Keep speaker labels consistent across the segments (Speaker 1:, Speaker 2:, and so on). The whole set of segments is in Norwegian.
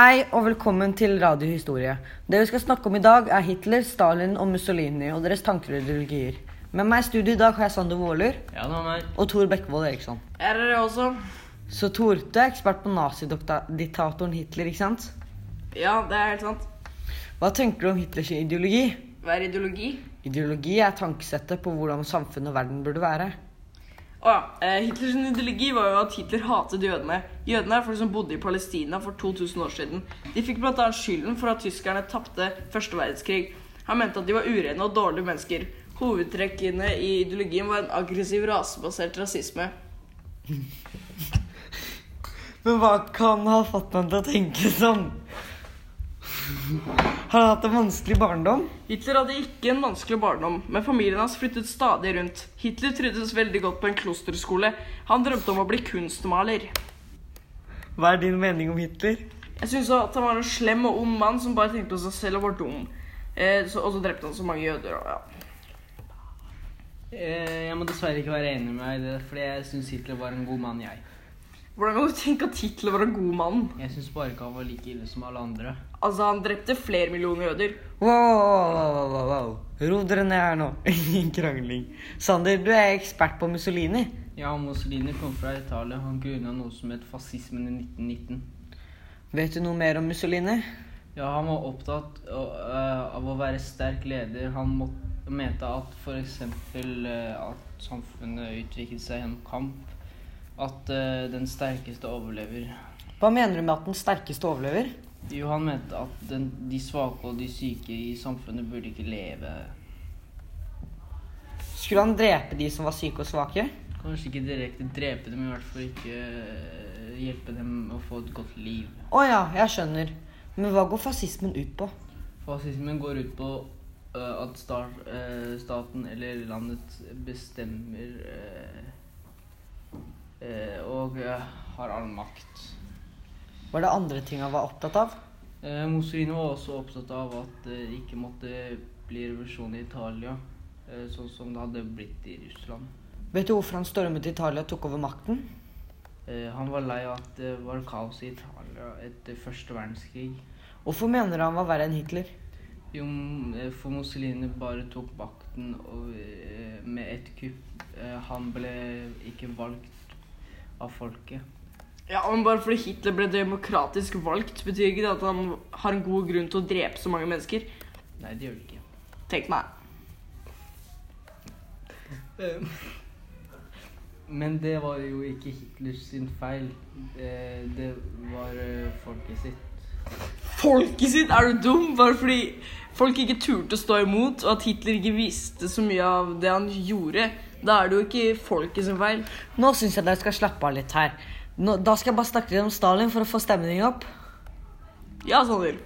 Speaker 1: Hei og velkommen til Radiohistorie. Det vi skal snakke om i dag, er Hitler, Stalin og Mussolini og deres tanker og ideologier. Med meg i studio i dag har jeg Sander Våler
Speaker 2: Ja, det var meg.
Speaker 1: og Tor Bekkevold Eriksson.
Speaker 3: Er det det også?
Speaker 1: Så Tor, du er ekspert på nazidiktatoren Hitler, ikke sant?
Speaker 3: Ja, det er helt sant.
Speaker 1: Hva tenker du om Hitlers ideologi?
Speaker 3: Hva er ideologi?
Speaker 1: Ideologi er tankesettet på hvordan samfunnet og verden burde være.
Speaker 3: Å ja. eh, Hitlers ideologi var jo at Hitler hatet jødene. Jødene er folk som bodde i Palestina for 2000 år siden. De fikk bl.a. skylden for at tyskerne tapte første verdenskrig. Han mente at de var urene og dårlige mennesker. Hovedtrekkene i ideologien var en aggressiv rasebasert rasisme.
Speaker 1: Men hva kan ha fått ham til å tenke sånn? Har han hatt en vanskelig barndom?
Speaker 3: Hitler hadde ikke en vanskelig barndom, men familien hans flyttet stadig rundt. Hitler trivdes veldig godt på en klosterskole. Han drømte om å bli kunstmaler.
Speaker 1: Hva er din mening om Hitler?
Speaker 3: Jeg syns at han var en slem og ond mann som bare tenkte på seg selv og var dum. Eh, så, og så drepte han så mange jøder. Og, ja.
Speaker 2: Eh, Jeg må dessverre ikke være enig med deg i det, fordi jeg syns Hitler var en god mann, jeg.
Speaker 3: Hvordan kan du tenke at Hitler var en god mann?
Speaker 2: Jeg syns bare ikke han var like ille som alle andre.
Speaker 3: Altså, Han drepte flere millioner jøder.
Speaker 1: Wow, wow, wow. Ro dere ned her nå. Ingen krangling. Sander, du er ekspert på Mussolini.
Speaker 2: Ja, Mussolini kom fra Italia. Han grunna noe som het fascismen i 1919.
Speaker 1: Vet du noe mer om Mussolini?
Speaker 2: Ja, han var opptatt å- eh, av å være sterk leder. Han må- mente at f.eks. at samfunnet utviklet seg gjennom kamp. At eh, den sterkeste overlever.
Speaker 1: Hva mener du med at den sterkeste overlever?
Speaker 2: Jo, han mente at den, de svake og de syke i samfunnet burde ikke leve.
Speaker 1: Skulle han drepe de som var syke og svake?
Speaker 2: Kanskje ikke direkte drepe dem, i hvert fall ikke eh, hjelpe dem å få et godt liv.
Speaker 1: Å ja, jeg skjønner. Men hva går fascismen ut på?
Speaker 2: Fascismen går ut på eh, at sta- eh, staten eller landet bestemmer eh, eh, og eh, har all makt.
Speaker 1: Var det andre ting han var opptatt av?
Speaker 2: Uh, Mussolini var også opptatt av at det ikke måtte bli revolusjon i Italia, eh, sånn som det hadde blitt i Russland.
Speaker 1: Vet du hvorfor han stormet Italia og tok over makten?
Speaker 2: Eh, han var lei av at det var kaos i Italia etter første verdenskrig.
Speaker 1: Hvorfor mener du han var verre enn Hitler?
Speaker 2: Jo, eh, for Mussolini bare tok makten og, eh, med et kupp. Eh, Han ble ikke valgt av folket.
Speaker 3: Ja, men Bare fordi Hitler ble demokratisk valgt, betyr ikke det at han har en god grunn til å drepe så mange mennesker.
Speaker 2: Nei, det gjør det ikke.
Speaker 3: Tenk meg.
Speaker 2: Eh, Men det var jo ikke Hitlers sin feil. Eh, Det var eh, folket sitt.
Speaker 3: Folket sitt! Er du dum? Bare fordi folk ikke turte å stå imot, og at Hitler ikke visste så mye av det han gjorde. Da er det jo ikke folket sin feil.
Speaker 1: Nå syns jeg dere skal slappe av litt her. Nå, da skal jeg bare snakke litt om Stalin for å få stemningen opp.
Speaker 3: Ja, Sander.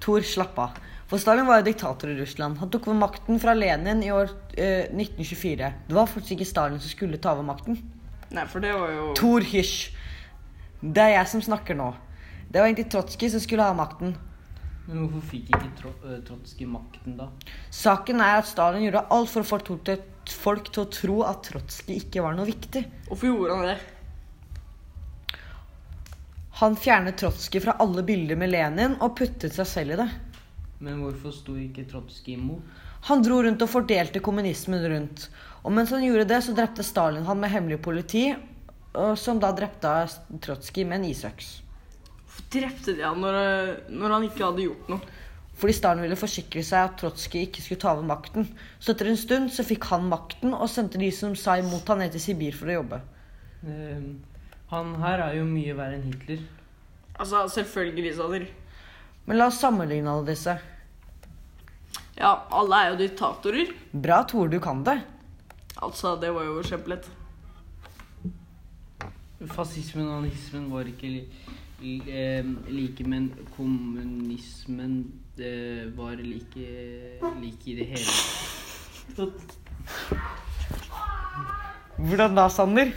Speaker 1: Tor, slapp av. For Stalin var jo diktator i Russland. Han tok over makten fra Lenin i år eh, 1924. Det var faktisk ikke Stalin som skulle ta over makten.
Speaker 3: Nei, for det var jo
Speaker 1: Tor, hysj! Det er jeg som snakker nå. Det var egentlig Trotskij som skulle ha makten.
Speaker 2: Men hvorfor fikk ikke Tro eh, Trotskij makten da?
Speaker 1: Saken er at Stalin gjorde alt for å få to- til- folk til å tro at Trotskij ikke var noe viktig.
Speaker 3: Hvorfor gjorde han det?
Speaker 1: Han fjernet Trotskij fra alle bilder med Lenin og puttet seg selv i det.
Speaker 2: Men hvorfor sto ikke Trotskij imot?
Speaker 1: Han dro rundt og fordelte kommunismen rundt. Og mens han gjorde det, så drepte Stalin han med hemmelig politi, og som da drepte Trotskij med en isøks.
Speaker 3: Hvorfor drepte de han når, eh, når han ikke hadde gjort noe?
Speaker 1: Fordi Stalin ville forsikre seg at Trotskij ikke skulle ta over makten. Så etter en stund så fikk han makten, og sendte de som sa imot han ned til Sibir for å jobbe.
Speaker 2: Eh, Han her er jo mye verre enn Hitler.
Speaker 3: Altså, selvfølgelig, Sander.
Speaker 1: Men la oss sammenligne alle disse.
Speaker 3: Ja, alle er jo diktatorer.
Speaker 1: Bra, Tore, du kan det.
Speaker 3: Altså, det var jo kjempelett.
Speaker 2: Fascismen og anarkismen var ikke li, li, eh, like, men kommunismen eh, var like, like i det hele tatt.
Speaker 1: Hvordan da, Sander?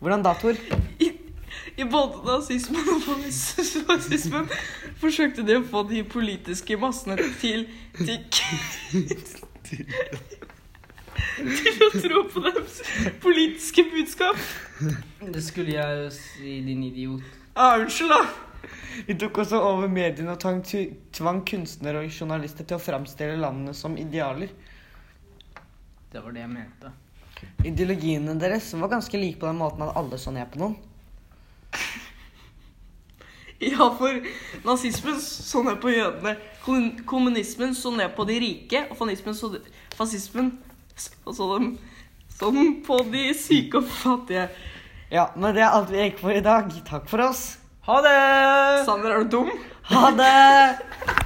Speaker 1: Hvordan da, Tor?
Speaker 3: I, i både nazismen og fascis- fascismen forsøkte de å få de politiske massene til til, til å tro på deres politiske budskap.
Speaker 2: Det skulle jeg jo si, din idiot.
Speaker 3: Ja, Ah, unnskyld, da.
Speaker 1: Vi tok også over mediene og tvang, tvang kunstnere og journalister til å framstille landene som idealer.
Speaker 2: Det var det jeg mente.
Speaker 1: Ideologiene deres var ganske like på den måten at alle så ned på noen.
Speaker 3: Ja, for nazismen så ned på jødene, kom- kommunismen så ned på de rike, og fanismen så fascismen så, så altså dem sånn på de syke og fattige.
Speaker 1: Ja, men det er alt vi gikk for i dag. Takk for oss.
Speaker 2: Ha det!
Speaker 3: Sander, er du dum?
Speaker 1: Ha det!